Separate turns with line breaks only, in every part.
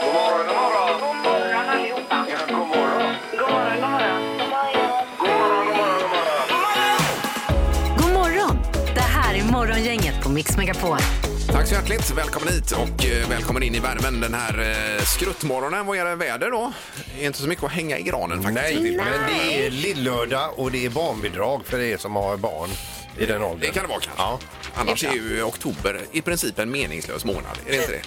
God morgon, god morgon.
God morgon allihopa.
Ja, god morgon.
God morgon, god morgon.
God morgon, god
God
morgon, god morgon.
morgon! Det här är Morgongänget på Mix Megapol.
Tack så hjärtligt. Välkommen hit och eh, välkommen in i värmen den här eh, skruttmorgonen vad gäller väder då. Det är inte så mycket att hänga i granen faktiskt.
Nej, men det är lillördag och det är barnbidrag för er som har barn i den åldern.
Det kan det vara kanske.
Ja.
Annars är ju oktober i princip en meningslös månad. Är det inte det?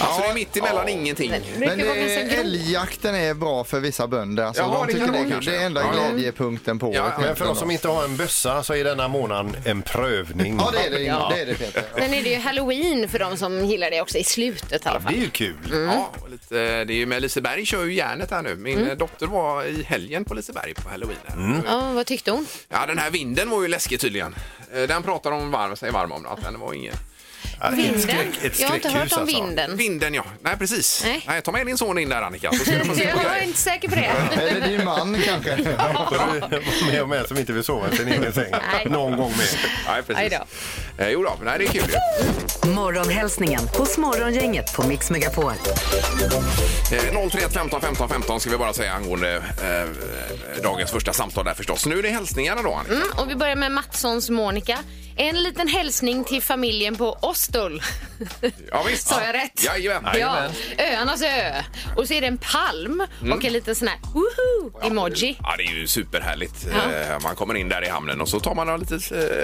Alltså det är mitt emellan ingenting.
Men
Mycket
eh,
går finns en grop.
älgjakten är bra för vissa bönder. Alltså,
Jaha, det
de tycker
kan
det
det
är
kanske.
det enda
Ja, ja.
glädjepunkten på året.
Ja, men
egentligen
Men för oss
då.
som inte har en bössa så är denna månaden en prövning.
Ja, det är det, det, är det Peter.
Sen är det ju halloween för de som gillar det också i slutet i alla
Det
fall.
är ju kul.
Ja, och lite, eh, det är ju med Liseberg kör ju järnet här nu. Min eh, dotter var i helgen på Liseberg på halloween. Här.
Mm.
Ja, vad tyckte hon?
Ja, den här vinden var ju läskig tydligen. Eh, Den pratar om varm, sig varm om att den var ingen.
Ja, Ett skräck, ett
Jag har inte hört
skräckhus
om
alltså.
vinden.
Vinden ja, nej precis.
Nej.
ta med din son in där Annika så ska du få se på
Jag är
grejer.
inte säker på det.
Eller din man kanske.
Får du med om en som inte vill sova i sin egen säng
Nej.
någon gång mer.
Nej,
Aj
precis.
då.
Eh, jo då, men nej, det är kul ju.
Morgonhälsningen hos Morgongänget på Mix Megapol.
Eh, 031 15 15 15 ska vi bara säga angående eh, eh, dagens första samtal där förstås. Nu är det hälsningarna då Annika.
Mm, och vi börjar med Mattssons Monica. En liten hälsning till familjen på Ostol.
Ja, visst.
Sa jag rätt?
Jajamän.
Ja, öarnas ö. Och så är det en palm
Mm.
och en liten sån här woohoo-emoji.
Ja, det är ju superhärligt.
Ja.
Eh, Man kommer in där i hamnen och så tar man lite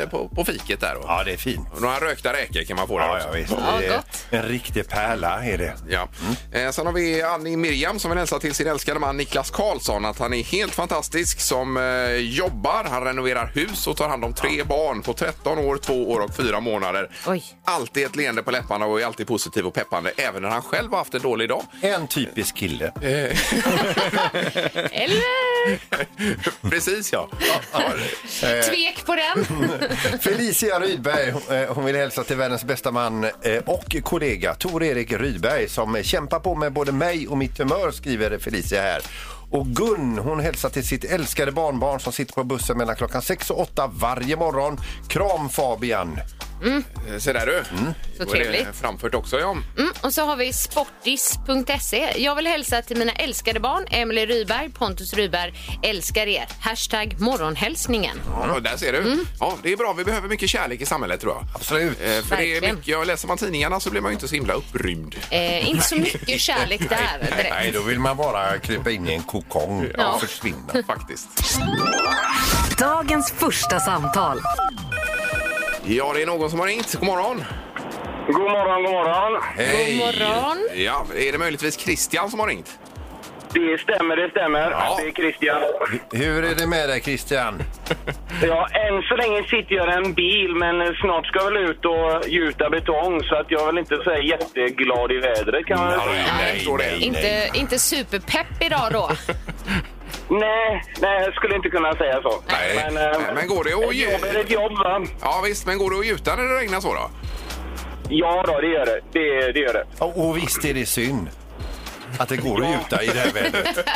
eh, på, på fiket där. Och,
Ja, det är fint.
och några rökta räkor kan man få där
Ja,
också.
ja, visst.
Ja,
Det är
gott.
En riktig pärla är det.
Ja. Eh, sen har vi Annie Miriam som vill hälsa till sin älskade man Niklas Karlsson att han är helt fantastisk som eh, jobbar, han renoverar hus och tar hand om tre barn på 13 år, 2 år och 4 månader.
Oj.
Alltid ett leende på läpparna och är alltid positiv och peppande även när han själv har haft en dålig dag.
En typisk kille.
Eller
Precis ja.
Eh.
tvek på den.
Felicia Rydberg eh, hon vill hälsa till världens bästa man eh, och kollega Tor-Erik Rydberg som kämpar på med både mig och mitt humör, skriver Felicia här. Och Gun hon hälsar till sitt älskade barnbarn som sitter på bussen mellan klockan 6 och 8 varje morgon. Kram Fabian!
Eh, Så där du.
Så
Då är det
trevligt.
Framfört också ja.
Mm, och så har vi sportis.se. Jag vill hälsa till mina älskade barn, Emily Ryberg, Pontus Ryberg. Älskar er. Hashtag morgonhälsningen.
Ja, där ser du. Ja, det är bra, vi behöver mycket kärlek i samhället tror jag.
Absolut!
Eh, För det är
Verkligen.
mycket, jag läser man tidningarna så blir man ju inte så himla upprymd.
Eh, inte så mycket kärlek där
Nej,
direkt.
då vill man bara krypa in i en kokong
Ja.
och försvinna.
Faktiskt.
Dagens första samtal.
Ja, det är någon som har ringt. God morgon.
God morgon, god morgon.
Hej.
morgon.
Ja, är det möjligtvis Christian som har ringt?
Det stämmer, det stämmer.
Ja.
Det är Christian.
Hur är det med dig Christian?
Ja, än så länge sitter jag i en bil, men snart ska jag väl ut och gjuta betong så att jag är väl inte så här jätteglad i vädret kan man väl säga.
nej, nej.
Inte, inte superpepp idag då.
Nej, nej, jag skulle inte kunna säga så.
Nej.
Men, eh,
Men går det att
ett jobb är
gjuta?
ett jobb, va?
Ja, visst, men går det att gjuta när det regnar så då?
Ja, då, det gör det. Det, det gör det.
Och, och visst är det synd att det går att gjuta i det här vädret.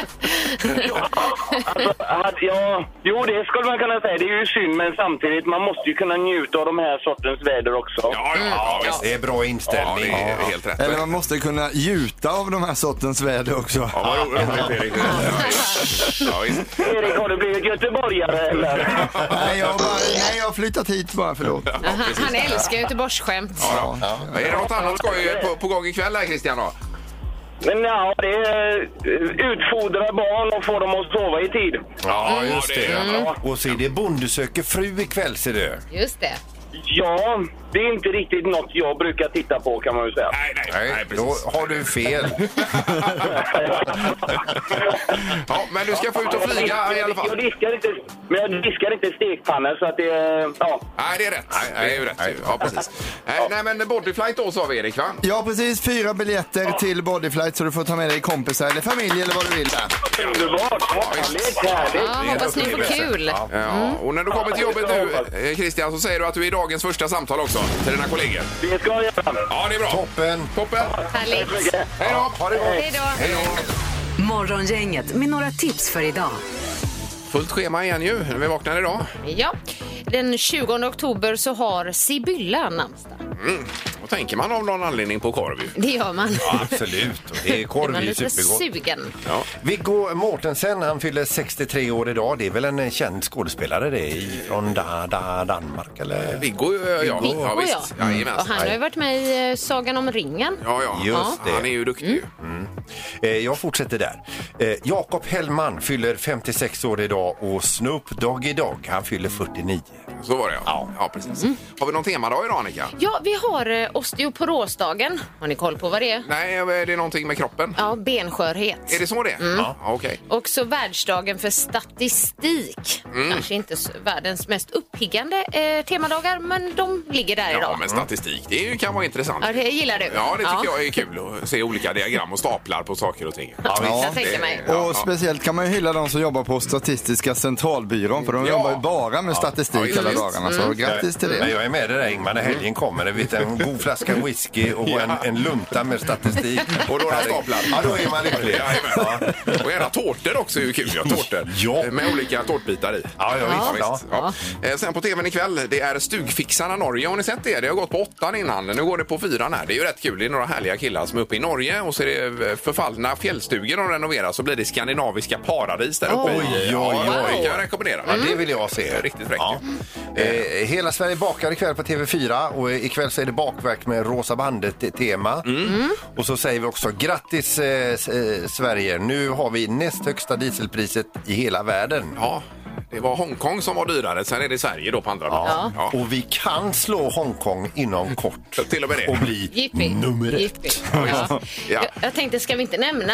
Alltså, hade jag... Jo, det skulle man kunna säga. Det är ju synd, men samtidigt, man måste ju kunna njuta av de här sortens väder också.
Ja, ja, visst.
Mm. Det är bra
Ja, det
inställning.
är helt rätt.
Eller man måste kunna gjuta av de här sortens väder också.
Ja, vad roligt, Erik. Ja, visst.
Erik, har du blivit göteborgare eller?
Nej, jag har, bara, nej, jag har flyttat hit bara, förlåt.
Han, han älskar Göteborgsskämt.
Ja.
Är det något annat skoj på, på gång ikväll här, Christian? Då?
Men ja, det är eh, utfodra barn och få dem att sova i tid.
Ja, just det.
Mm.
Och så är det Bonde söker fru ikväll ser du.
Just det.
Ja, det är inte riktigt något jag brukar titta på kan man ju säga.
Nej, nej,
Nej, då har du fel.
Ja, men du ska få ut och flyga i alla
Jag
fall.
diskar inte, men jag diskar inte stekpannor så att det... eh, Ja.
Nej, det är rätt. Det är ju rätt. ju. Ja, precis. Nej, nej, men bodyflight då sa vi, Erik, va?
Ja, precis. Fyra biljetter till Bodyflight så du får ta med dig kompisar eller familj eller vad du vill. Där.
Underbart! Härligt,
Ja,
härligt!
hoppas ni får kul.
Mm. Ja, och när du kommer till jobbet nu, eh, Christian, så säger du att du är dagens första samtal också till dina kollegor.
Det ska jag göra.
Ja, det är bra.
Toppen.
Toppen!
Härligt.
Hej då!
Ha det gott.
Hej då.
Hej då!
Morgongänget med några tips för idag.
Fullt schema igen ju, när vi vaknar idag.
Ja. Den 20 oktober så har Sibylla namnsdag.
Och tänker man av någon anledning på korv ju.
Det gör man.
Ja, absolut. Och det är
Är
korv
man
är ju
lite
supergott.
sugen.
Ja.
Viggo Mortensen, han fyller 63 år idag. Det är väl en eh, känd skådespelare det, i- från da, da, Danmark eller?
Viggo, ja. ja,
Viggo,
ja, visst.
ja. Mm.
Jajamän.
Och han har ju varit med i eh, Sagan om ringen.
Ja, ja.
Just det.
Han är ju duktig. ju.
Mm.
Eh, jag fortsätter där. Eh, Jakob Hellman fyller 56 år idag och Snoop Doggy Dogg, han fyller 49.
Så var det, ja. ja. precis.
Mm.
Har vi någon temadag idag, Annika?
Ja, vi har eh, osteoporosdagen. Har ni koll på vad det är?
Nej, är det någonting med kroppen?
Ja, Mm. benskörhet.
Är det så det Mm. är? Ja, okej.
Och så världsdagen för statistik. Kanske inte s- världens mest uppiggande eh, temadagar, men de ligger där
Ja,
idag.
men statistik, det är ju- kan vara intressant.
Ja, det gillar du.
Ja, det tycker jag är kul att se olika diagram och staplar på saker och ting.
Ja,
visst.
jag tänker mig.
Ja, ja.
Och speciellt kan man ju hylla de som jobbar på Statistiska centralbyrån för de
Ja.
jobbar ju bara med
Ja,
statistik
just Mm.
alla
det.
dagarna. Så grattis till
Men
det.
jag är med dig där Ingmar, när helgen kommer. Det vet, en god flaska whisky och en, en lunta med statistik.
Och några staplar.
Ja, då är man lycklig.
Jajamän. Och gärna tårtor också är ju kul. Ja, tårtor.
Ja.
Med olika tårtbitar i.
Ja, ja, visst.
Ja. Eh, Sen på tvn ikväll, det är Stugfixarna Norge. Har ni sett det? Det har gått på åttan innan. Nu går det på fyran här. Det är ju rätt kul. Det är några härliga killar som är uppe i Norge och så är det eh, förfallna fjällstugor de renoverar så blir det skandinaviska paradis där uppe.
Oj, oj,
Ja,
oj.
det kan jag rekommendera.
Ja, det vill jag se.
Riktigt fräckt
Ja. Eh, hela Sverige bakar ikväll på TV4 och eh, ikväll så är det bakverk med Rosa bandet-tema. Och så säger vi också grattis eh, s- eh, Sverige. Nu har vi näst högsta dieselpriset i hela världen.
Ja, det var Hongkong som var dyrare. Sen är det Sverige då på andra plats. Ja.
Och vi kan slå Hongkong inom kort.
Till och med det.
Och bli
Jippi.
nummer ett.
Jippi. Ja.
Ja.
Jag, jag tänkte, ska vi inte nämna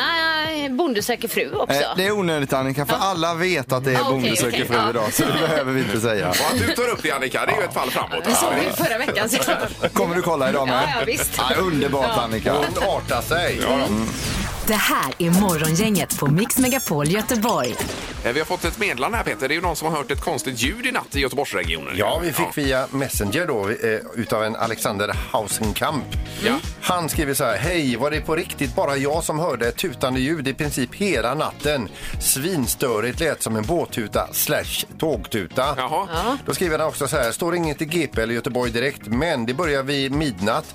eh, Bonde söker fru också?
Eh, Det är onödigt Annika, för alla vet att det är
Ja, okej,
Bonde söker
okej,
fru
ja.
idag. Så det behöver vi inte säga.
Och att du tar upp det Annika, det är ju ett fall framåt.
Vi såg det ju förra veckan såklart.
Kommer du kolla idag med?
Ja, ja, visst.
Ja, underbart Annika.
Hon artar sig.
Det här är Morgongänget på Mix Megapol Göteborg.
Eh, Vi har fått ett meddelande här Peter. Det är ju någon som har hört ett konstigt ljud i natt i Göteborgsregionen.
Ja, vi fick via Messenger då eh, utav en Alexander Hausenkamp.
Ja.
Han skriver så här. Hej, var det på riktigt bara jag som hörde ett tutande ljud i princip hela natten? Svinstörigt lät som en båttuta slash tågtuta.
Jaha. Ja.
Då skriver han också så här. Står inget i GP eller Göteborg direkt, men det börjar vid midnatt.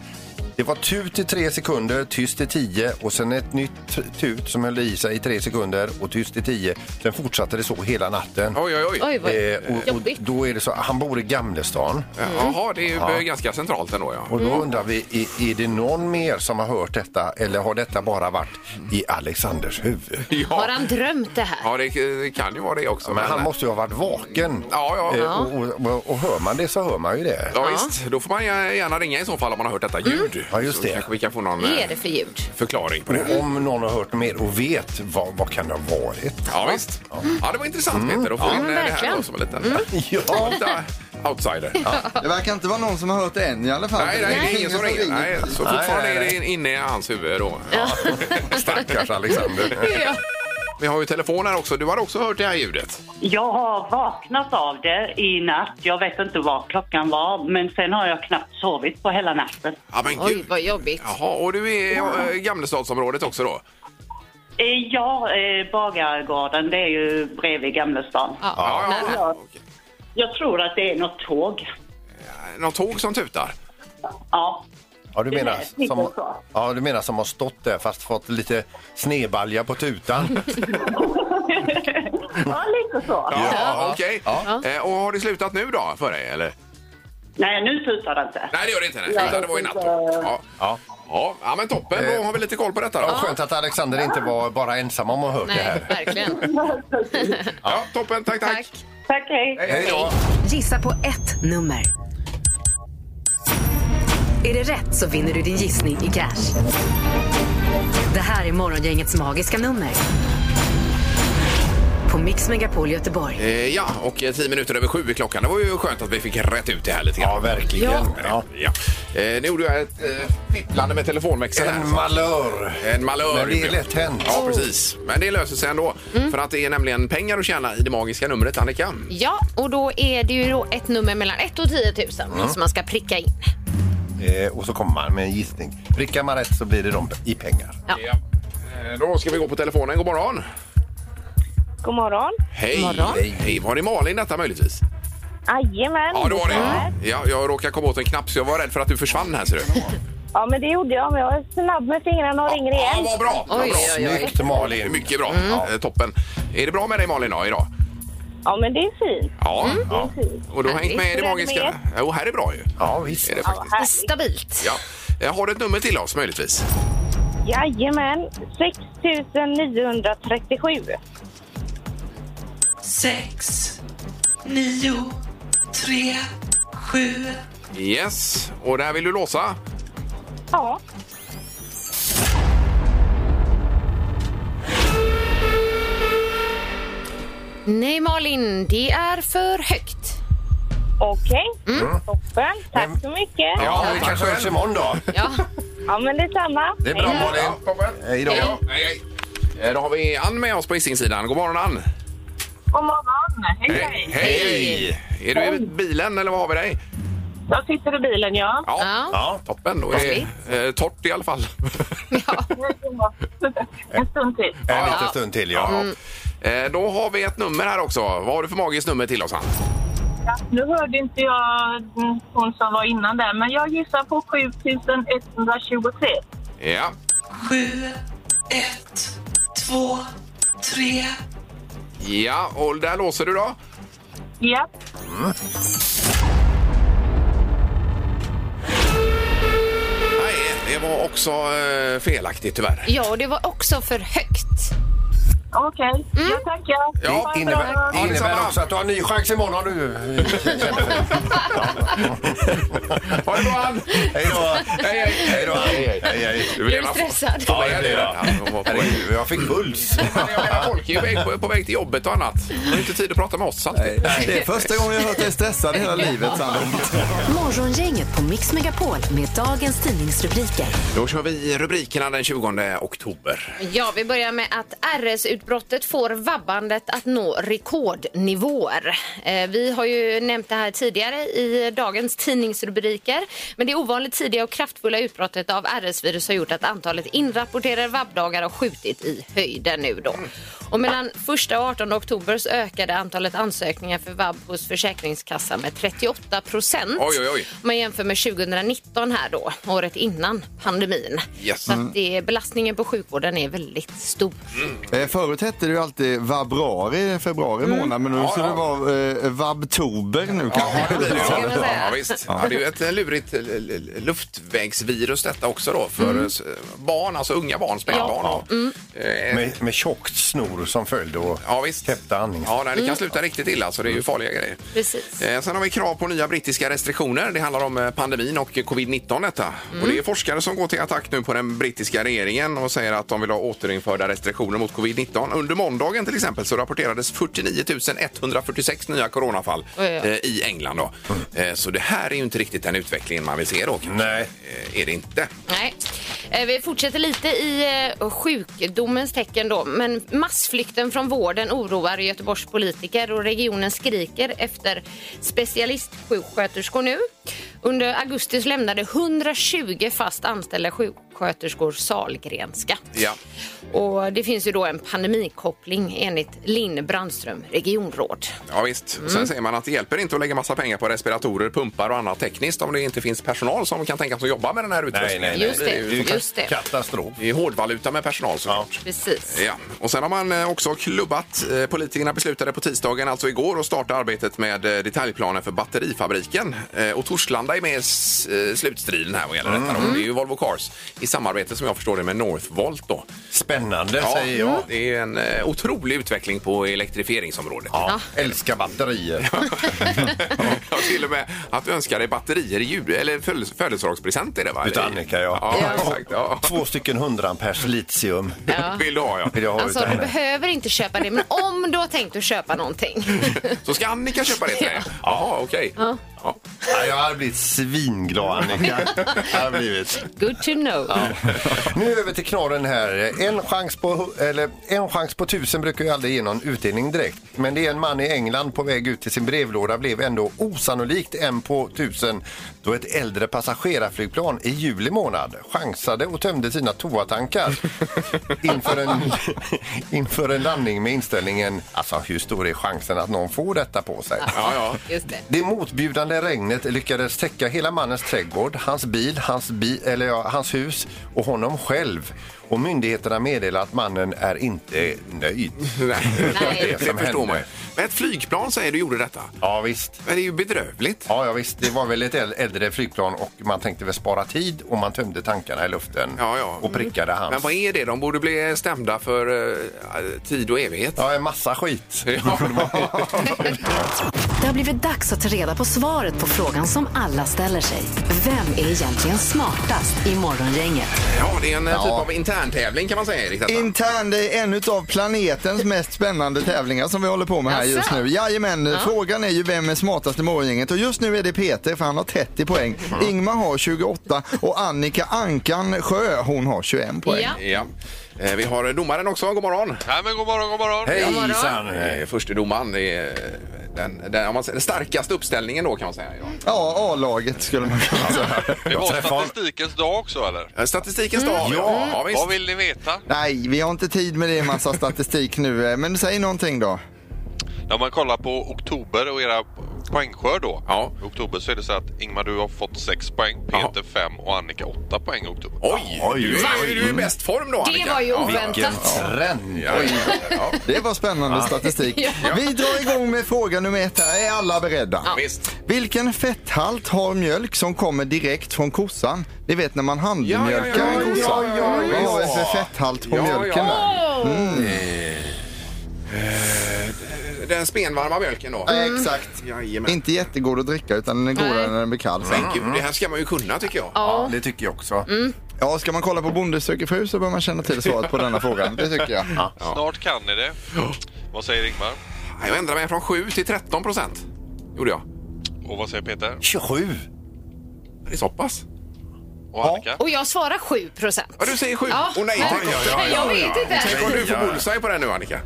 Det var tut i tre sekunder, tyst i tio och sen ett nytt t- tut som höll i sig i tre sekunder och tyst i tio. Sen fortsatte det så hela natten.
Oj, oj, oj.
Oj, vad
Eh, och, och
jobbigt.
då är det så, han bor i Gamlestan.
Mm.
Jaha, det är ju eh, ganska centralt ändå. Ja.
Och då undrar vi, är, är det någon mer som har hört detta eller har detta bara varit i Alexanders huvud?
Har
Ja.
han drömt det här?
ja, det det kan ju vara det också.
Men han måste ju ha varit vaken.
Ja, ja.
Eh, Och, och, och hör man det så hör man ju det.
Ja, visst. Då får man gär- gärna ringa i så fall om man har hört detta ljud.
Mm. Ja, just
Så
det.
kanske vi kan få någon
Vad
eh,
är det för ljud?
förklaring på det.
Och om någon har hört mer och vet, vad, vad kan det ha varit?
Ja, visst. Ja, det var intressant
Mm.
Peter att få in eh, det här
verkligen. Mm.
då som en liten lite outsider.
Det verkar inte vara någon som har hört det än i alla fall.
Nej, nej, det är ingen som ringer. Nej, så fortfarande
nej,
är
nej.
det inne i hans huvud då. Ja.
Stackars Alexander.
Vi har ju telefon här också. Du har också hört det här ljudet.
Jag har vaknat av det i natt. Jag vet inte vad klockan var, men sen har jag knappt sovit på hela natten.
Ja, men
Oj,
gud.
vad jobbigt.
Jaha, och du är i eh, Gamlestadsområdet också då?
Eh, Ja, eh, Bagargården, det är ju bredvid Gamlestan.
Ja,
Ja,
nära.
ja. Okej. Eh,
Jag tror att det är något tåg.
Något tåg som tutar?
Ja.
Ja, du
Det
menar,
lät lite
som,
så.
ja, du menar som har stått där fast fått lite snebalja på tutan?
ja, lite så.
Ja, okej. Eh, Och har det slutat nu då för dig eller?
Nej, nu tutar det inte.
Nej, det gör det inte. Nej. Utan det var i natt. Då. Ja.
Ja.
Ja. ja, men toppen. Då har vi lite koll på detta då.
Ja, skönt att Alexander inte var bara ensam om att ha hört det
Nej,
här.
verkligen.
Ja, toppen. Tack, tack.
Tack.
Tack, hej.
Hej då!
Gissa på ett nummer. Är det rätt så vinner du din gissning i cash. Det här är Morgongängets magiska nummer. På Mix Megapol Göteborg.
Eh, Ja, och eh, tio minuter över sju är klockan. Det var ju skönt att vi fick rätt ut det här lite grann.
Ja, verkligen. Ja.
Ja. Eh, nu gjorde jag ett eh, fipplande med telefonväxeln här.
En malör.
En malör.
Men det är lätt hänt.
Ja, precis. Men det löser sig ändå. För att det är nämligen pengar att tjäna i det magiska numret, Annika.
Ja, och då är det ju då ett nummer mellan 1 och 10 000 som man ska pricka in.
Eh, och så kommer man med en gissning. Prickar man rätt så blir det de i pengar.
Ja. Eh, Då ska vi gå på telefonen. God morgon!
God morgon.
Hej!
morgon.
Hej. Var det Malin detta möjligtvis?
Jajamän.
Ja, det var det.
stämmer.
Ja, jag råkade komma åt en knapp så jag var rädd för att du försvann här ser du.
Ja, men det gjorde jag. Men jag är snabb med fingrarna och ringer
Ja,
igen.
vad bra! Vad
Oj,
bra.
oj, oj.
Snyggt Malin.
Mycket bra. Eh, Toppen. Är det bra med dig Malin då, idag?
Ja, men det är fint.
Ja. ja. Och du har hängt med i det
Mm. Hur är det med
magiska?
er?
Jo, här är bra ju.
Ja, visst.
Är det
Ja,
faktiskt.
härligt.
Stabilt.
Ja. Eh, Har du ett nummer till oss möjligtvis?
Jajamän. 6937.
Yes. Och där vill du låsa?
Ja.
Nej, Malin, det är för högt.
Okej.
Mm.
Mm. Toppen. Tack så mycket.
Ja, vi kanske hörs imorgon då.
Ja.
Ja, men detsamma.
Det är bra Malin. Hej då.
Ja, hej, hej. Eh, Då har vi Ann med oss på Hisingssidan. God morgon Ann!
God morgon. Hej,
Hej! Är du i bilen eller vad har vi dig?
Jag sitter i bilen, ja.
Ja.
Ja,
Toppen, då är det eh, torrt i alla fall.
En stund till.
en liten stund till ja.
Eh, Då har vi ett nummer här också. Vad har du för magiskt nummer till oss Ann?
Nu hörde inte jag mm, hon som var innan där, men jag gissar på 7123.
Ja. Ja, och där låser du då?
Ja.
Nej, det var också eh, felaktigt tyvärr.
ja, och det var också för högt.
Okej, jag tackar.
Ja,
Det innebär, det innebär också att du har en ny chans imorgon du.
Ha det bra Ann!
Hej då.
Hej, hej!
Hej då.
hej, hej.
Hej, hej.
Du
Du är
gärna få-
stressad.
Ja,
jag
jag
blir
blir
det.
det.
Herregud, jag fick puls.
Jag menar, folk är ju väg- på, på väg till jobbet och annat. De har ju inte tid att prata med oss alltid.
Det är första gången jag har hört dig stressad i hela livet, Sandra.
Morgongänget på Mix Megapol med dagens tidningsrubriker.
Då kör vi rubrikerna den 20 oktober.
Ja, vi börjar med att RS-utbrottet får vabbandet att nå rekordnivåer. Eh, Vi har ju nämnt det här tidigare i dagens tidningsrubriker, men det ovanligt tidiga och kraftfulla utbrottet av RS-virus har gjort att antalet inrapporterade vabbdagar har skjutit i höjden nu då. Och mellan 1 och 18 oktober så ökade antalet ansökningar för vabb hos Försäkringskassan med 38 procent.
Oj, oj, oj.
Om man jämför med 2019 här då, året innan pandemin.
Yes.
Så att det, belastningen på sjukvården är väldigt stor.
Eh, Förut hette det ju alltid vabrauri, februari månad, men nu
Ja,
så
ja.
det var eh, vabtober nu kanske.
det blir det.
Ska man säga.
Ja, visst. Ja, det är ju ett eh, lurigt eh, l- l- luftvägsvirus detta också då för
Mm.
eh, s- barn, alltså unga barn, spädbarn. Ja.
Med, med tjockt snor som följd och
ja, visst.
täppta andningar.
Ja, nej,
Mm.
det kan sluta riktigt illa, så det är ju farliga grejer.
Precis.
Eh, sen har vi krav på nya brittiska restriktioner. Det handlar om eh, pandemin och eh, covid-19. Detta. Och
Mm.
det är forskare som går till attack nu på den brittiska regeringen och säger att de vill ha återinförda restriktioner mot covid-19. Under måndagen till exempel så rapporterades 49 146 nya coronafall
Oj, oj, oj.
eh, i England. Då. Eh, så det här är ju inte riktigt den utvecklingen man vill se då. kanske.
Nej.
Eh, är det inte.
Nej. Eh, Vi fortsätter lite i eh, sjukdomens tecken då. Men massflykten från vården oroar Göteborgs politiker och regionen skriker efter specialistsjuksköterskor nu. Under augusti så lämnade 120 fast anställda sjuksköterskor Sahlgrenska.
Ja.
Och det finns ju då en pandemikoppling enligt Linn Brandström, regionråd.
Ja, visst.
Mm.
Sen säger man att det hjälper inte att lägga massa pengar på respiratorer, pumpar och annat tekniskt om det inte finns personal som kan tänkas att jobba med den här utrustningen.
nej, nej.
Just det,
är ju
just det.
Katastrof.
Det är hårdvaluta med personal såklart.
Precis.
Ja. Och sen har man eh, också klubbat. eh, Politikerna beslutade på tisdagen, alltså igår, att starta arbetet med eh, detaljplanen för batterifabriken. Eh, Och Torslanda är med i s- eh, slutstriden här vad gäller
Mhm.
detta. då. Det är ju Volvo Cars i samarbete som jag förstår det med Northvolt då.
Spännande säger jag.
Det är en eh, otrolig utveckling på elektrifieringsområdet.
Ja. Älskar batterier.
Ja, till och med att önska dig batterier i jul, eller föl- födelsedagspresent är det va?
Utav Annika, ja.
Ja, exakt. Ja.
Två stycken hundraampers litium
Vill du ha ja.
vill jag ha
Alltså,
utav
du
henne.
behöver inte köpa det, men om du har tänkt att köpa någonting.
Så ska Annika köpa det till dig? Jaha, okej. Ja.
Ja, jag hade blivit svinglad Annika. Jag hade blivit.
Good to know.
Nu över till knorren här. En chans, på, eller, en chans på tusen brukar ju aldrig ge någon utdelning direkt. Men det är en man i England på väg ut till sin brevlåda blev ändå osannolikt en på tusen då ett äldre passagerarflygplan i juli månad chansade och tömde sina toatankar inför en, inför en landning med inställningen alltså hur stor är chansen att någon får detta på sig?
Ja, ja.
Just det.
Det motbjudande överväldigande regnet lyckades täcka hela mannens trädgård, hans bil, hans, bi eller ja, hans hus och honom själv. Och myndigheterna meddelar att mannen är inte nöjd.
Nej,
Nej.
det förstår
hände.
man ju. Men ett flygplan säger du gjorde detta.
Ja, visst.
Men det är ju bedrövligt.
Ja, ja, visst. Det var väl ett äl- äldre flygplan och man tänkte väl spara tid och man tömde tankarna i luften
Ja, ja. Mm.
och prickade hans.
Men vad är det? De borde bli stämda för eh, tid och evighet.
Ja, en massa skit.
Det har blivit dags att ta reda på svaret på frågan som alla ställer sig. Vem är egentligen smartast i Morgongänget?
Ja, det är en eh, typ av interntävling kan man säga, Erik. detta.
Intern, det är en av planetens mest spännande tävlingar som vi håller på med här just nu. Jajamän, frågan är ju vem är smartast i morgongänget och just nu är det Peter för han har 30 poäng. Ingmar har 28 och Annika Ankan Sjö hon har 21 poäng.
Ja.
Ja. Eh, Vi har domaren också. God morgon!
Nej, men god morgon, god morgon.
Hejsan!
Eh, Förste domaren. Det är eh, den, den, om man säger, den starkaste uppställningen då kan man säga. idag.
Ja, A-laget skulle man kunna säga.
Det var
Jag träffade honom.
statistikens dag också, eller?
Eh, Statistikens dag. Ja, ja, visst.
Vad vill ni veta?
Nej, vi har inte tid med det massa statistik nu, eh, men säg någonting då.
När man kollar på oktober och era poängskörd då.
Ja.
I oktober så är det så att Ingmar du har fått 6 poäng, Peter 5 och Annika 8 poäng i oktober.
Oj,
Oj,
du är ju i bäst form då,
Det
Annika.
var ju
Ja,
Vilken
oväntat.
trend!
ja, Oj, ja,
Det var spännande statistik. Vi drar igång med fråga nummer ett här. Är alla beredda?
visst.
Vilken fetthalt har mjölk som kommer direkt från kossan? Ni vet när man handmjölkar
Ja, ja, ja,
en kossa.
ja, ja,
Vad har vi
ja.
för fetthalt på
Ja,
mjölken
ja.
där?
Oh.
Den spenvarma mjölken då.
Eh, Exakt.
Jajamän.
Inte jättegod att dricka utan den är godare
Nej.
när den blir kall. sen.
Men gud, det här ska man ju kunna tycker jag.
Ja, det tycker jag också.
Ja, ska man kolla på Bonde söker fru så bör man känna till svaret på denna frågan. Det tycker jag.
Snart kan ni det. Vad säger Ingmar?
Jag ändrade mig från 7 till 13 procent. Gjorde jag.
Och vad säger Peter?
27!
Det är så pass.
Och Annika?
Och jag svarar 7 procent.
Ja, du säger 7.
Ja.
Och nej,
Nej.
tänk om-
Ja, ja, ja, Jag vet ja. inte.
Tänk om du får bullseye på den nu, Annika.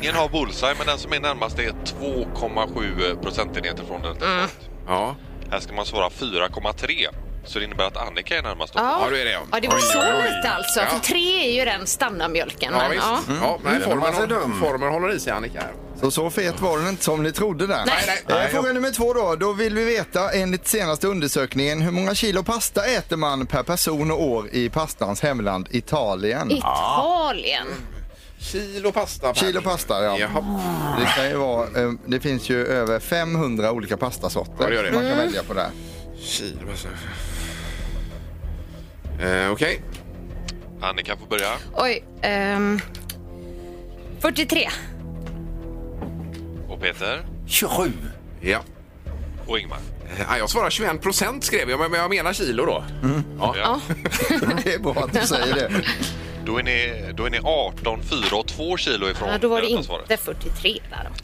Ingen har bullseye, men den som är närmast är 2,7 procentenheter från den.
Ja,
Här ska man svara 4,3. Så det innebär att Annika är närmast. då.
ja du är det ja.
Ja, det var
Oj,
så
oj, oj.
lite alltså.
Ja.
För tre är ju den standardmjölken.
Ja,
men,
visst.
ja.
Ja, nej,
Mm. Man
formen,
är så dum.
formen håller i sig, Annika. här.
Så, så fet var den inte som ni trodde där.
Nej,
nej,
Eh, Fråga nummer två då. Då vill vi veta enligt senaste undersökningen hur många kilo pasta äter man per person och år i pastans hemland Italien?
Italien.
Kilo pasta. Per.
Kilo pasta, ja.
Jaha.
Det, kan ju vara, eh, det finns ju över 500 olika pastasorter
Ja, det gör det.
man kan välja på där.
Kilo pasta. Eh, Okej.
Annika får börja.
Oj. ehm, 43.
Och Peter?
27!
Ja.
Och Ingmar?
Eh, Jag svarar 21 procent skrev jag, men men jag menar kilo då.
Mm.
Ja.
Mm.
Det är bra att du säger det.
Då är ni, då är ni 18, 4 och 2 kilo ifrån
Ja, då var det
rätta svaret.
inte 43 där då.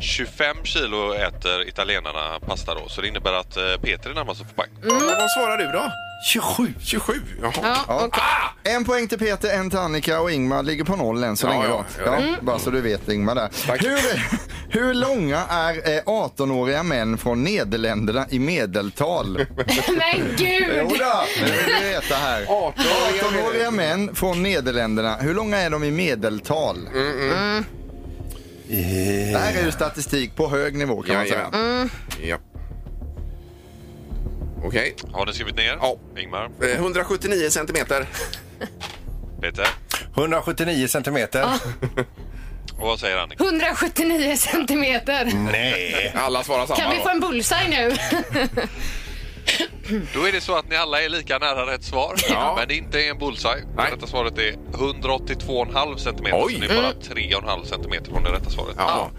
25 kilo äter italienarna pasta då, så det innebär att eh, Peter är närmast att få poäng.
Vad- Vad svarar du då?
27!
27? Jaha.
Ja, okej.
En poäng till Peter, en till Annika och Ingmar ligger på noll än så
Ja,
länge.
ja,
då.
ja,
ja,
ja.
Bara så du vet Ingmar där.
Tack.
Hur, hur långa är eh, 18-åriga män från Nederländerna i medeltal?
Men gud!
Jodå, nu vill vi veta här. 18-åriga män från Nederländerna, hur långa är de i medeltal?
Mm,
Det här är ju statistik på hög nivå kan man säga.
Jajamän.
Mm.
Ja. Okej.
Har ni skrivit ner?
Ja.
Ingmar?
Eh, 179 centimeter.
Peter?
179 centimeter.
Och vad säger Annika?
179 centimeter.
Nej!
Alla svarar samma
Kan vi
då.
få en bullseye nu?
Då är det så att ni alla är lika nära rätt svar.
Ja.
Men det inte är en bullseye.
Nej.
Det rätta svaret är 182,5 centimeter.
Oj.
Så ni är
Mm.
bara 3,5 centimeter från det rätta svaret.
Ja.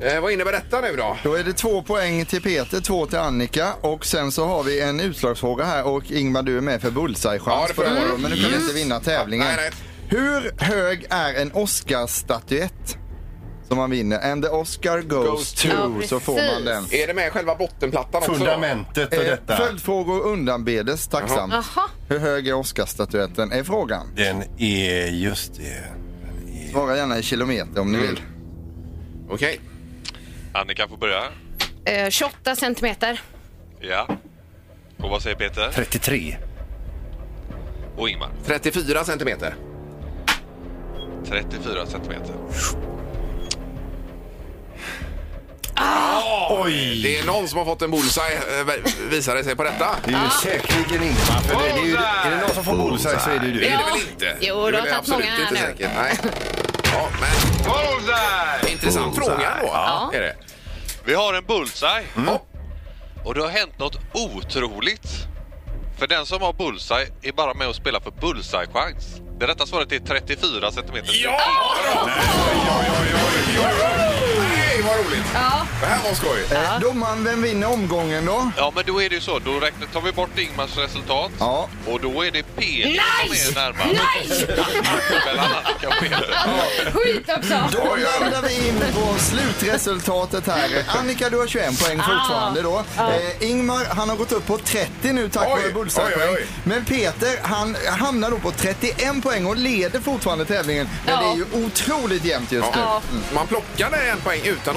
Eh, vad innebär detta nu då?
Då är det två poäng till Peter, två till Annika och sen så har vi en utslagsfråga här och Ingmar du är med för
Ja,
bullseye-chans
det
på
får
den
jag.
här, men du kan
Yes.
inte vinna tävlingen.
Nej, nej.
Hur hög är en Oscarsstatyett som man vinner? And the Oscar goes,
Goes
to,
to.
Ja,
så får man den.
Är det med själva bottenplattan också? då?
Fundamentet och
Eh,
detta.
Följdfrågor undanbedes tacksamt.
Jaha.
Hur hög är Oscarsstatyetten? Är frågan.
Den är just det.
Svara gärna i kilometer om ni
Mm.
vill.
Okej.
Annika får börja.
Eh, 28 centimeter.
Ja. Och vad säger Peter?
33.
Och Ingmar?
34 centimeter.
34 centimeter.
Ja!
Oj.
Ah! Det är någon som har fått en bullseye, eh, visar det sig på detta.
Det är ju säkerligen Ingmar. För det är, ju, är det någon som får bullseye så är det ju
Det är
du.
det väl inte?
Jo,
är
du har
väl
tagit
absolut
många
inte
nu.
säkert. Nej. Ja, men intressant fråga då.
Ja.
Är det?
Vi har en bullseye.
Ja.
Och det har hänt något otroligt. För den som har bullseye är bara med och spelar för bullseye-chans. Det rätta svaret är 34 centimeter.
Ja! Oj, oj, oj, oj, oj, oj. Nej, vad roligt! Det här var skoj.
Eh, Domaren, vem vinner omgången då?
Ja, men då är det ju så. Då räknar, tar vi bort Ingmars resultat.
Ja.
Och då är det Peter
Nice!
som är närmast.
Nej!
Mellan annat kan Peter.
Skit också!
Då landar vi in på slutresultatet här. Annika, du har 21 poäng fortfarande då. Eh, Ingmar, han har gått upp på 30 nu tack
Oj,
vare
oj,
bullseye-poäng.
oj.
Men Peter, han hamnar då på 31 poäng och leder fortfarande tävlingen. Men
Ja.
det är ju otroligt jämnt just nu.
Ja. Mm. Man plockade en poäng utan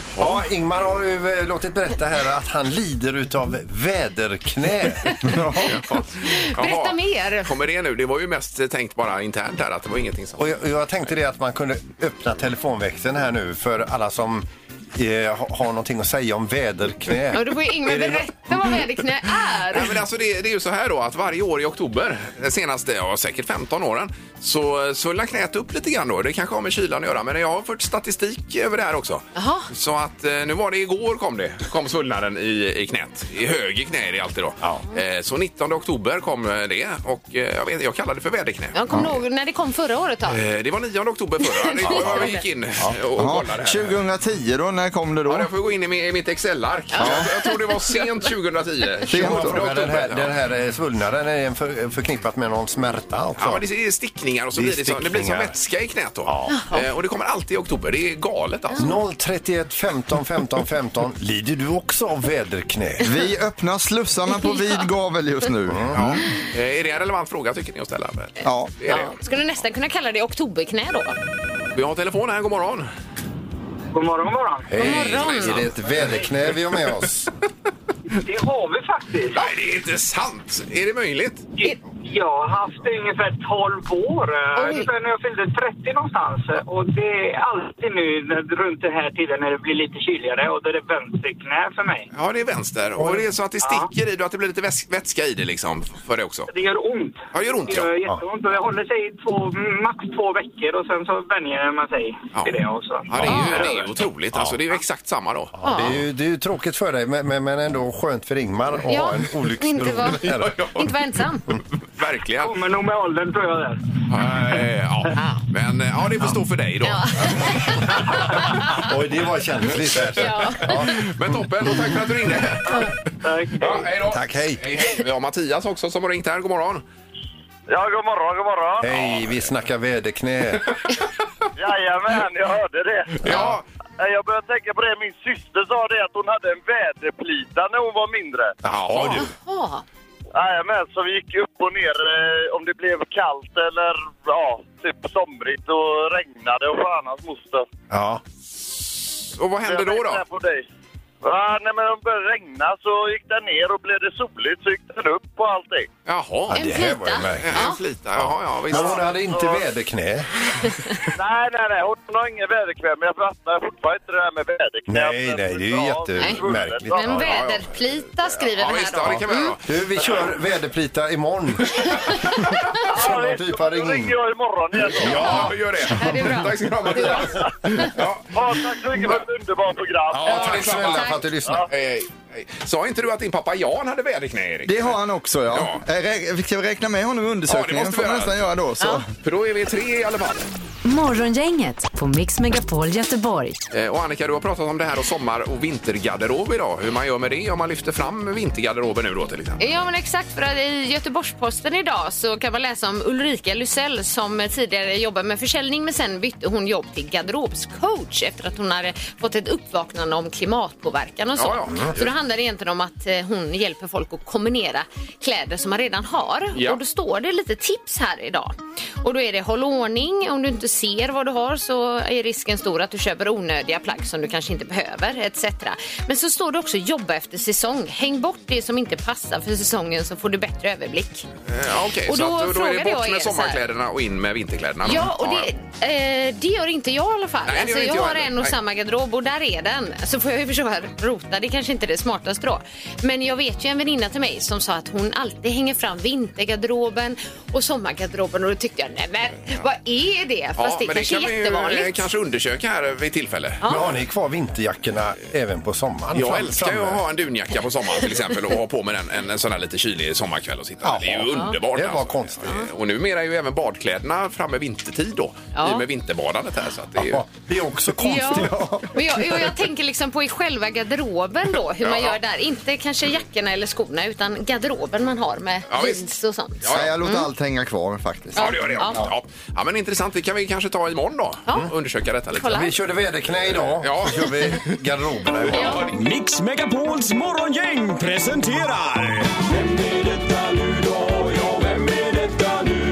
Ja, Ingmar har ju eh, låtit berätta här att han lider utav väderknä.
Jaha.
Berätta mer.
Kommer det nu? Det var ju mest eh, tänkt bara internt där att det var ingenting som...
Och jag, jag tänkte det att man kunde öppna telefonväxeln här nu för alla som eh, ha- har någonting att säga om väderknä.
Ja, då får ju Ingmar
Är det
berätta vad väderknä
Nej,
är.
men alltså det, det är ju så här då att varje år i oktober, de senaste ja, säkert 15 åren, så svullnar knät upp lite grann då. Det kanske har med kylan att göra, men jag har fått statistik över det här också.
Jaha.
Så att eh, nu var det igår kom det, kom svullnaden i, i knät. I höger knä är det alltid då. Eh, Så 19 oktober kom eh, det och eh, jag, vet, jag kallade det för väderknä.
Jag kommer ihåg när det kom förra året då.
Eh, Det var 9 oktober förra. Det var jag gick in och och
Ja,
kollade. här.
2010 då, när kom det då?
Ja, jag får gå in i mi- i mitt Excel-ark. Jag, jag tror det var sent 2010.
Sent då.
20
Ja, den här,
oktober,
den här eh, svullnaden är den för, eh, förknippat med någon smärta alltså? också.
Ja, men det är stickningar och så
Det är
blir det, så, det blir som
stickningar.
vätska i knät då. Eh, och det kommer alltid i oktober. Det är galet alltså.
031 15 15 15. Lider du också av väderknä?
Vi öppnar slussarna på vid gavel just nu.
Ja. Eh, är det en relevant fråga tycker ni att ställa? Men
Ja.
Det är det.
Ja. Skulle nästan kunna kalla det oktoberknä då.
Vi har telefon här, god morgon.
God morgon, god morgon.
Hej,
morgon.
är det ett väderknä vi har med oss?
Det har vi faktiskt.
Nej, det är inte sant! Är det möjligt?
Jag har haft det i ungefär 12 år. eh,
Oj.
Ungefär när jag fyllde 30 någonstans. eh, Och det är alltid nu när, runt den här tiden när det blir lite kyligare och då är det vänsterknä för mig.
Ja, det är vänster. Och det är så att det sticker i det och att det blir lite väs- vätska i det liksom. För det också.
Det gör ont.
Ja, det gör ont,
Det
ja.
gör jätteont. Och det håller sig i två, max två veckor och sen så vänjer man sig
Ja.
till det också.
Ja, det är ju det är ju otroligt. Alltså, det är ju exakt samma då.
Ja, Det, är ju, det är ju tråkigt för dig, men, men men ändå skönt för Ingmar att
Ja,
ha en
inte vara-
olycksberoende.
Inte vara ensam.
Verkligen.
Kommer nog med åldern tror jag det.
Eh, Ja. Men eh, ja, det får stå för dig då.
Ja.
Oj, det var känsligt. Där.
Ja.
Men toppen, och tack för att du ringde.
Tack.
Ja, hej då.
Tack, hej.
Hej, hej. Vi har Mattias också som har ringt här. God morgon.
Ja, god morgon, god morgon.
Hej, vi snackar väderknä.
Jajamän, jag hörde det.
Ja.
Nej, Jag började tänka på det. Min syster sa det att hon hade en väderplita när hon var mindre.
Jaha, du.
Ja.
Jajamän, så vi gick upp och ner eh, om det blev kallt eller ja, typ somrigt och regnade och fan hans moster.
Ja.
Och vad hände
Jag
då?
tänkte
då?
här På dig. Ja, nej, men om det började regna så gick den ner och blev det soligt så gick den upp och allting.
Jaha.
En
det här var ju
flyta.
märkligt.
En flita. Jaha, ja, visst.
Men hon hade inte väderknä.
Nej, nej, nej. Hon har ingen väderkväll, men jag fattar fortfarande inte det här med väderkväll.
Nej, nej, det är ju jättemärkligt.
Men väderplita skriver
Ja,
vi
visst, ja,
här
det
då.
kan vi göra.
Du, vi kör väderplita imorgon. Samma typ av
Då ringer
ringning.
jag imorgon igen. då.
Ja, gör det.
det är bra.
Tack ska du ha, Mattias. Ja.
Ja, tack så mycket för ett underbart program.
Ja, tack
detsamma.
snälla för att du lyssnade.
Hej, hej, hej. Sa inte du att din pappa Jan hade väderknä, Erik?
Det har han också ja.
Ja.
Eh, rä- Ska vi räkna med honom i
Ja, det
undersökningen?
måste
får
vi
vi
göra.
nästan göra då. Så.
För då är vi tre i alla fall.
Morgongänget på Mix Megapol Göteborg.
Eh, Och Annika, du har pratat om det här och sommar och vintergarderob idag. Hur man gör med det om man lyfter fram vintergarderoben nu då till exempel.
Ja men exakt för att i Göteborgs-Posten idag så kan man läsa om Ulrika Lysell som tidigare jobbade med försäljning men sen bytte hon jobb till garderobscoach efter att hon hade fått ett uppvaknande om klimatpåverkan och så.
Ja, ja.
Så då handlar det egentligen om att eh, hon hjälper folk att kombinera kläder som man redan har.
Ja.
Och då står det lite tips här idag. Och då är det håll ordning, om du inte ser vad du har så är risken stor att du köper onödiga plagg som du kanske inte behöver etc. Men så står det också jobba efter säsong. Häng bort det som inte passar för säsongen så får du bättre överblick.
Eh, Ja, Okej,
Och
så
då
att, då är det
frågade jag
bort
er
med
så här.
sommarkläderna och in med vinterkläderna. då.
Ja, och det, eh, det gör inte jag i alla fall.
Nej, det gör
alltså,
inte
jag
jag
har
heller.
en och
Nej.
samma garderob och där är den. Så får jag ju försöka rota, det kanske inte är det smartaste då. Men jag vet ju en väninna till mig som sa att hon alltid hänger fram vintergarderoben och sommargarderoben och då tyckte jag, nej men vad är det? Fast det,
men
kanske
kan
är
vi
jättevanligt.
ju eh, kanske undersöka här vid tillfälle.
Men har ni kvar vinterjackorna även på sommaren?
Jag
Fram-
älskar ju
framme?
att ha en dunjacka på sommaren till exempel och ha på mig den en, en sån här lite kylig sommarkväll och sitta
Ja.
där. Det är ju underbart.
Det var konstigt.
Eh, Och numera är ju även badkläderna framme vintertid då.
Ja.
I och med vinterbadandet här. Så att det är ju...
Ja, det är också konstigt.
Ja. Och jag, och jag tänker liksom på i själva garderoben då, hur man
Ja.
gör där. Inte kanske jackorna eller skorna utan garderoben man har med
Ja, visst.
jeans och sånt.
Ja, Mm.
Nej, jag låter allt hänga kvar faktiskt.
Ja, det gör det. Ja.
Ja.
Ja. ja, men intressant. Det kan vi kanske ta imorgon då. Och undersöka detta lite.
Kolla.
Vi körde väderknä idag.
Ja.
Så kör vi garderoberna idag.
Mix Megapols morgongäng presenterar... Vem är detta nu då? Ja, vem är detta nu?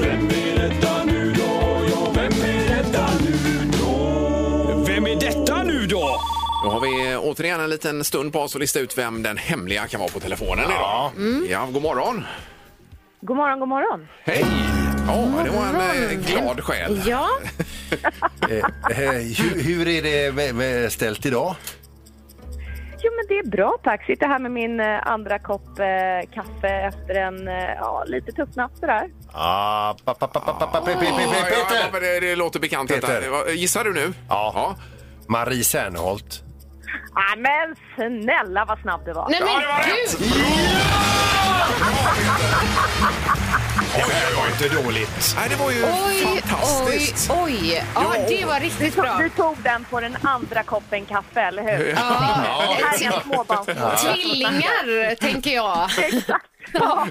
Vem är detta nu då? Ja, vem är detta nu då? Vem är detta nu då?
Då har vi återigen en liten stund på oss att lista ut vem den hemliga kan vara på telefonen idag.
Mm.
Ja, god morgon.
God morgon, god morgon.
Hej! Ja, det var en eh, glad själ.
Ja,
Eh, eh, hur, hur är det med- med ställt idag?
Jo, men det är bra tack. Sitter här med min eh, andra kopp eh, kaffe efter en eh, ja, lite tuff natt sådär.
Ah, pa, pa, pa, pa, pa, pa, pe, pe, pe,
Ja,
pe,
ja, ja,
Peter!
men det, det låter bekant.
Peter.
Detta. Vad- Gissar du nu?
Ja. Marie Serneholt.
Nej, Ah, men snälla vad snabb du var.
nej men
Ja, det var rätt!
gud!
Det var inte dåligt.
Nej, det var ju
Oj, oj,
fantastiskt.
oj. Ja,
Ja.
det var riktigt
Du,
bra.
du tog den på den andra koppen kaffe, eller hur?
Ja.
Det här är en småbarnsmor.
Tvillingar, tänker jag.
Exakt. Ja.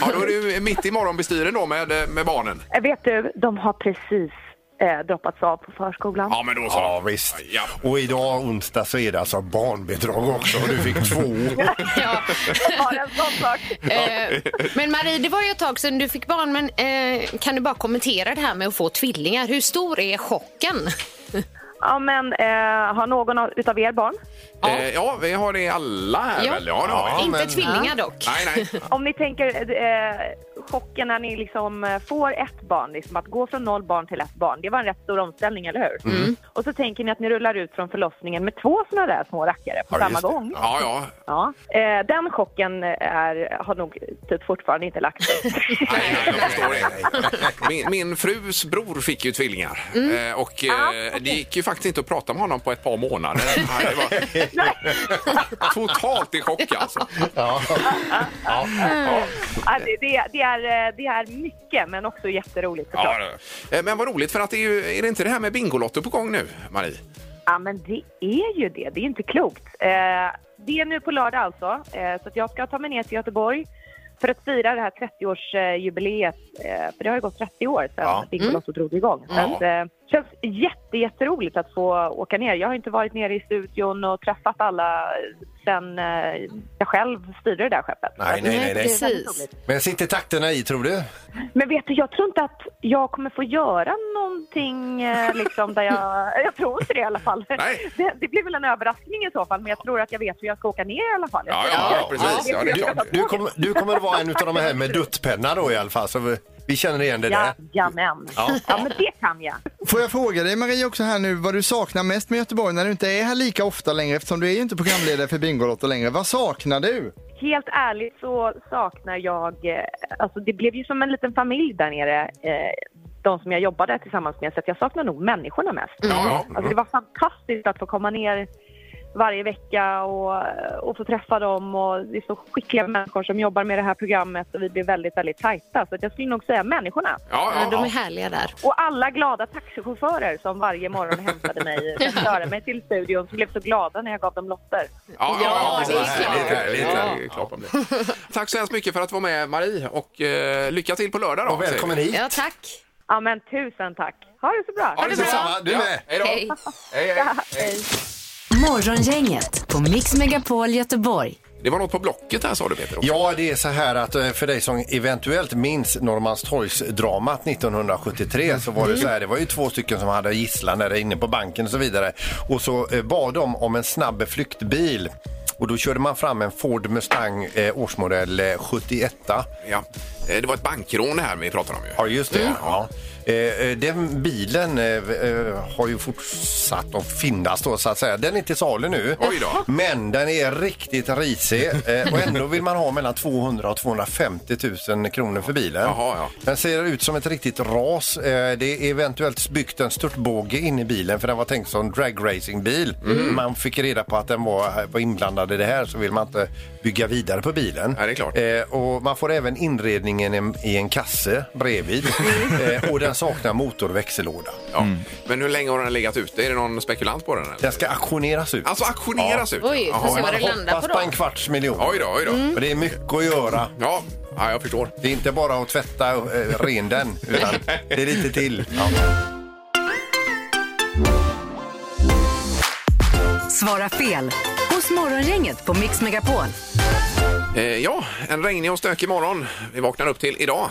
Ja, då är du mitt i morgonbestyren då med, med barnen.
Eh, Vet du, de har precis eh, droppats av på förskolan.
Ja, men då så.
Ja, visst.
Ja.
Och idag onsdag så är det alltså barnbidrag också och du fick två.
Ja.
Bara en sån sak.
Eh, Men Marie, det var ju ett tag sedan du fick barn, men eh, kan du bara kommentera det här med att få tvillingar? Hur stor är chocken?
Ja, men eh, har någon av utav er barn?
Ja. Eh, ja, vi har det alla här
Ja.
väl? Ja, det har vi.
Inte
men-
tvillingar dock.
Nej, nej.
Om ni tänker eh, chocken när ni liksom eh, får ett barn, liksom att gå från noll barn till ett barn, det var en rätt stor omställning, eller hur?
Mm.
Och så tänker ni att ni rullar ut från förlossningen med två såna där små rackare på
Ja,
samma
just det.
gång.
Ja, ja.
Ja. Eh, den chocken är, har nog typ fortfarande inte lagt sig.
Nej, nej, jag förstår det. Min, min frus bror fick ju tvillingar
Mm.
eh, och eh, det gick ju faktiskt inte att prata med honom på ett par månader. Nej, det var totalt i chock alltså.
ja, det, det, det, är, eh, det är mycket, men också jätteroligt såklart.
Ja, det- eh, men vad roligt för att det är, ju, är det inte det här med Bingolotto på gång nu, Marie?
Ja, men det är ju det. Det är inte klokt. Eh, det är nu på lördag alltså, eh, så att jag ska ta mig ner till Göteborg för att fira det här 30-årsjubileet. Eh, för det har ju gått 30 år sedan
Ja.
Bingolotto drog igång. Så
Ja.
att, eh, känns jätte, jätteroligt att få åka ner. Jag har inte varit nere i studion och träffat alla sen eh, jag själv styrde det där skeppet.
Nej, nej, nej. nej.
Precis.
Men sitter takterna i, tror du?
Men vet du, jag tror inte att jag kommer få göra någonting eh, liksom där jag... Jag tror inte det i alla fall.
Nej.
Det, det blir väl en överraskning i så fall, men jag tror att jag vet hur jag ska åka ner i alla fall.
Ja, ja, ja precis. Ja, det är
Du,
klart.
du, kommer, du kommer att vara en av de här med duttpenna då i alla fall, så vi, vi känner igen det där.
Jajamän.
Ja.
Ja. men det kan jag.
Får jag fråga dig Marie också här nu vad du saknar mest med Göteborg när du inte är här lika ofta längre eftersom du är ju inte programledare för Bingolotto längre. Vad saknar du?
Helt ärligt så saknar jag... eh, Alltså det blev ju som en liten familj där nere, eh, de som jag jobbade tillsammans med, så att jag saknar nog människorna mest.
Ja,
Alltså det var fantastiskt att få komma ner varje vecka och, och få träffa dem. Och det är så skickliga människor som jobbar med det här programmet och vi blir väldigt, väldigt tajta. Så att jag skulle nog säga människorna.
ja,
Ja,
ja,
de är
ja.
härliga där.
Och alla glada taxichaufförer som varje morgon hämtade mig för att köra mig till studion som blev så glada när jag gav dem lotter.
Ja, ja,
Ja, det är
precis.
klart.
Härligt, härligt, härligt. Det är klart man blir. Tack så hemskt mycket för att du var med, Marie. Och eh, lycka till på lördag. Då,
Och välkommen hit.
Ja, tack.
Ja, men tusen tack. Ha det så bra.
Ja, det är
Detsamma, du med.
Hej då.
Hej.
Hej, hej.
Hej.
Morgongänget på Mix Megapol Göteborg.
Det var något på Blocket här sa du Peter. också.
Ja, det är så här att eh, för dig som eventuellt minns Norrmalmstorgsdramat 1973 så var det så här, det var ju två stycken som hade gisslan där inne på banken och så vidare. Och så eh, bad de om en snabb flyktbil. Och då körde man fram en Ford Mustang eh, årsmodell eh, 71.
Ja. Eh, Det var ett bankrån det här vi pratade om ju.
Ja, just det. Ja. Eh, eh, Den bilen eh, eh, har ju fortsatt att finnas då, så att säga. Den är till salu nu.
Oj då.
Men den är riktigt risig eh, och ändå vill man ha mellan 200 och 250 000 kronor för bilen.
Jaha, ja.
Den ser ut som ett riktigt ras. Eh, Det är eventuellt byggt en störtbåge in i bilen för den var tänkt som dragracingbil.
Mm.
Man fick reda på att den var, var inblandad i det här så vill man inte bygga vidare på bilen.
Nej, det är klart.
Eh, och man får även inredningen i en, i en kasse bredvid eh, och den saknar motorväxellåda.
Ja. Men hur länge har den legat ute? Är det någon spekulant på den? Eller?
Den ska auktioneras ut.
Alltså auktioneras ut?
Oj,
Jaha.
får se
Man
vad det landar på
hoppas på en
då.
kvarts miljon. Mm.
Oj då, oj då.
Och det är mycket att göra.
Ja. ja, jag förstår.
Det är inte bara att tvätta eh, ren den, utan det är lite till.
Svara fel hos Morgongänget på Mix Megapol.
Eh, ja, en regnig och stökig morgon. Vi vaknar upp till idag,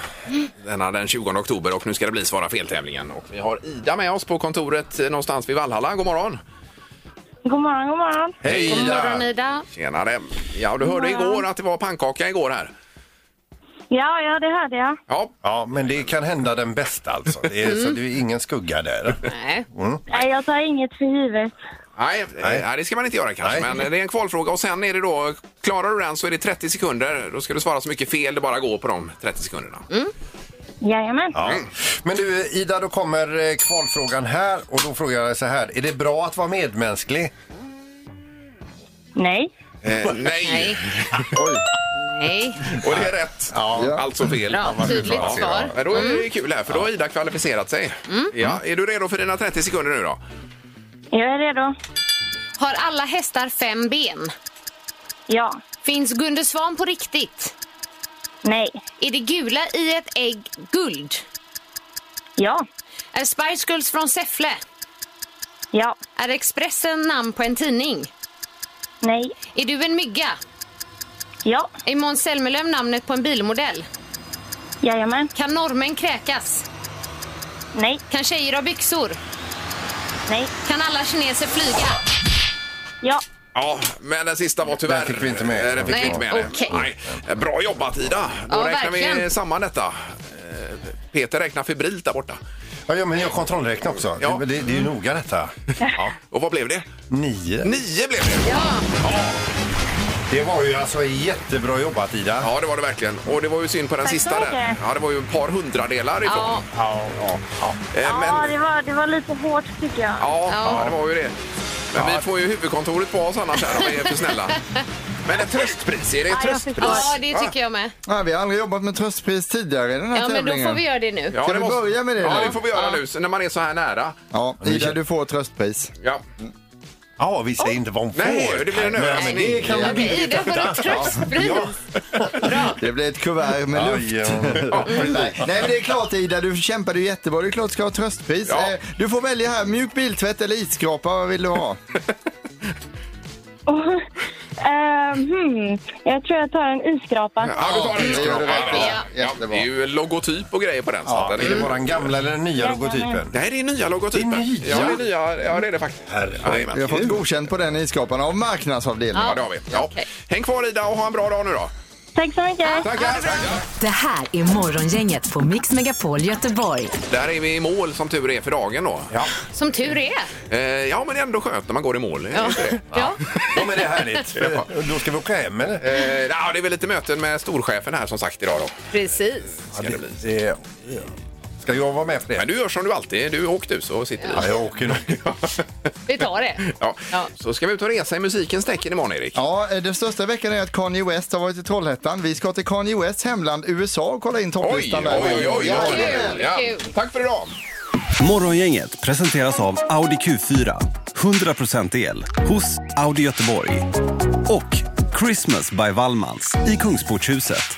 denna den 20 oktober och nu ska det bli Svara fel-tävlingen. Och vi har Ida med oss på kontoret eh, någonstans vid Vallhalla. God morgon!
God morgon, god morgon.
Hej
God morgon
Ida!
Ida.
Tjenare! Ja, och du hörde igår att det var pannkaka igår här.
Ja, ja, det hörde jag.
Ja,
Ja, men det kan hända den bästa alltså. Det är,
Mm.
Så det är ingen skugga där.
Nej.
Nej, jag tar inget för givet.
nej, nej. nej, det ska man inte göra kanske,
Nej.
men det är en kvalfråga. Och sen är det då, klarar du den så är det 30 sekunder. Då ska du svara så mycket fel det bara går på de 30 sekunderna.
Mm.
Jajamän.
Ja.
Mm.
Men du Ida, då kommer eh, kvalfrågan här och då frågar jag dig så här. Är det bra att vara medmänsklig?
Nej.
Eh, nej!
Nej. Nej.
Och det är rätt.
Ja.
Alltså fel.
Bra,
Ja, vad du
tydligt
får se då.
svar. Mm.
Men då är det kul här, för då har Ida kvalificerat sig. Ja, är du redo för dina 30 sekunder nu då?
Jag är redo.
Har alla hästar fem ben?
Ja.
Finns Gunde Svan på riktigt?
Nej.
Är det gula i ett ägg guld?
Ja.
Är Spice Girls från Säffle?
Ja.
Är Expressen namn på en tidning?
Nej.
Är du en mygga?
Ja.
Är Måns Zelmerlöw namnet på en bilmodell?
Jajamän.
Kan norrmän kräkas?
Nej.
Kan tjejer ha byxor?
Nej.
Kan alla kineser flyga?
Ja.
Ja, men den sista var tyvärr...
Den fick vi inte med.
Eh, Den fick vi
Nej,
inte med. nej.
okej.
Nej. Bra jobbat Ida! Då
Ja,
räknar vi
verkligen.
samman detta. Eh, Peter räknar febrilt där borta.
Ja, ja men jag kontrollräknar också.
Ja.
Det, det, det är ju noga detta.
Ja. Och vad blev det?
Nio.
Nio blev det! Ja.
Det var ju alltså jättebra jobbat Ida.
ja, det var det verkligen. Och det var ju synd på den
Tack så
sista där.
mycket.
Ja, det var ju ett par hundradelar ifrån.
Ja.
Ja, ja, ja.
Eh,
Ja,
Men,
det var, det var lite hårt tycker jag.
ja, ja,
Ja.
det var ju det. Men vi får ju huvudkontoret på oss annars här om vi är för snälla. Men ett tröstpris, är det ett
Ja, jag
tröstpris?
förstår.
Ja, det tycker jag med.
Nej, vi har aldrig jobbat med tröstpris tidigare i den här
Ja, men då
tävlingen.
får vi göra det nu.
Ja,
Ska
det
vi börja med det
Ja,
nu?
det får vi göra nu så när man är så här nära.
Ja, Ida, du får tröstpris.
Ja.
ja vi säger inte vad hon får.
Nej, det blir en
Nej, men det kan vi
Okej, Ida får ett tröstpris.
Det blir ett kuvert med luft.
Aj, ja.
Nej, nej, men det är klart Ida, du kämpade ju jättebra. Det är klart du ska ha tröstpris.
Ja.
Eh, Du får välja här, mjuk biltvätt eller isskrapa, vad vill du ha?
Och, eh, hmm, jag tror jag tar en isskrapa.
Ja, du tar den.
det gör du rätt i.
Ja, ja. Det
Jättebra.
är ju logotyp och grejer på den. Så att
Ja,
den
är det
är...
bara den gamla eller den nya logotypen?
Nej, det är nya logotypen.
Det är nya?
Ja, det är nya. Ja, det är det faktiskt.
Herregud.
Vi har fått godkänt på den isskrapan av marknadsavdelningen.
Ja, det har vi. Ja.
Okej.
Häng kvar Ida och ha en bra dag nu då.
Tack så mycket.
Tackar! Tackar.
Det här är Morgongänget på Mix Megapol Göteborg.
Där är vi i mål som tur är för dagen då. Ja,
Som tur är.
ja men det är ändå skönt när man går i mål. Ja. Det?
Ja.
Ja, men det är härligt. Då ska vi åka hem eller?
Eh, ja, det är väl lite möten med storchefen här som sagt idag då.
Precis.
Ska det bli.
Det- Ska jag vara med på det?
Men du gör som du alltid Du åker du så sitter
Ja,
vi.
jag åker nog.
Vi tar det.
Ja.
Ja.
Så ska vi ut och resa i musikens tecken imorgon Erik.
Ja, eh, den största veckan är att Kanye West har varit i Trollhättan. Vi ska till Kanye Wests hemland USA och kolla in
Oj,
topplistan där.
oj, oj, oj,
Ja,
oj.
Kul,
Ja.
kul.
Tack för idag!
Morgongänget presenteras av Audi Q4. 100% el hos Audi Göteborg. Och Christmas by Wallmans i Kungsportshuset.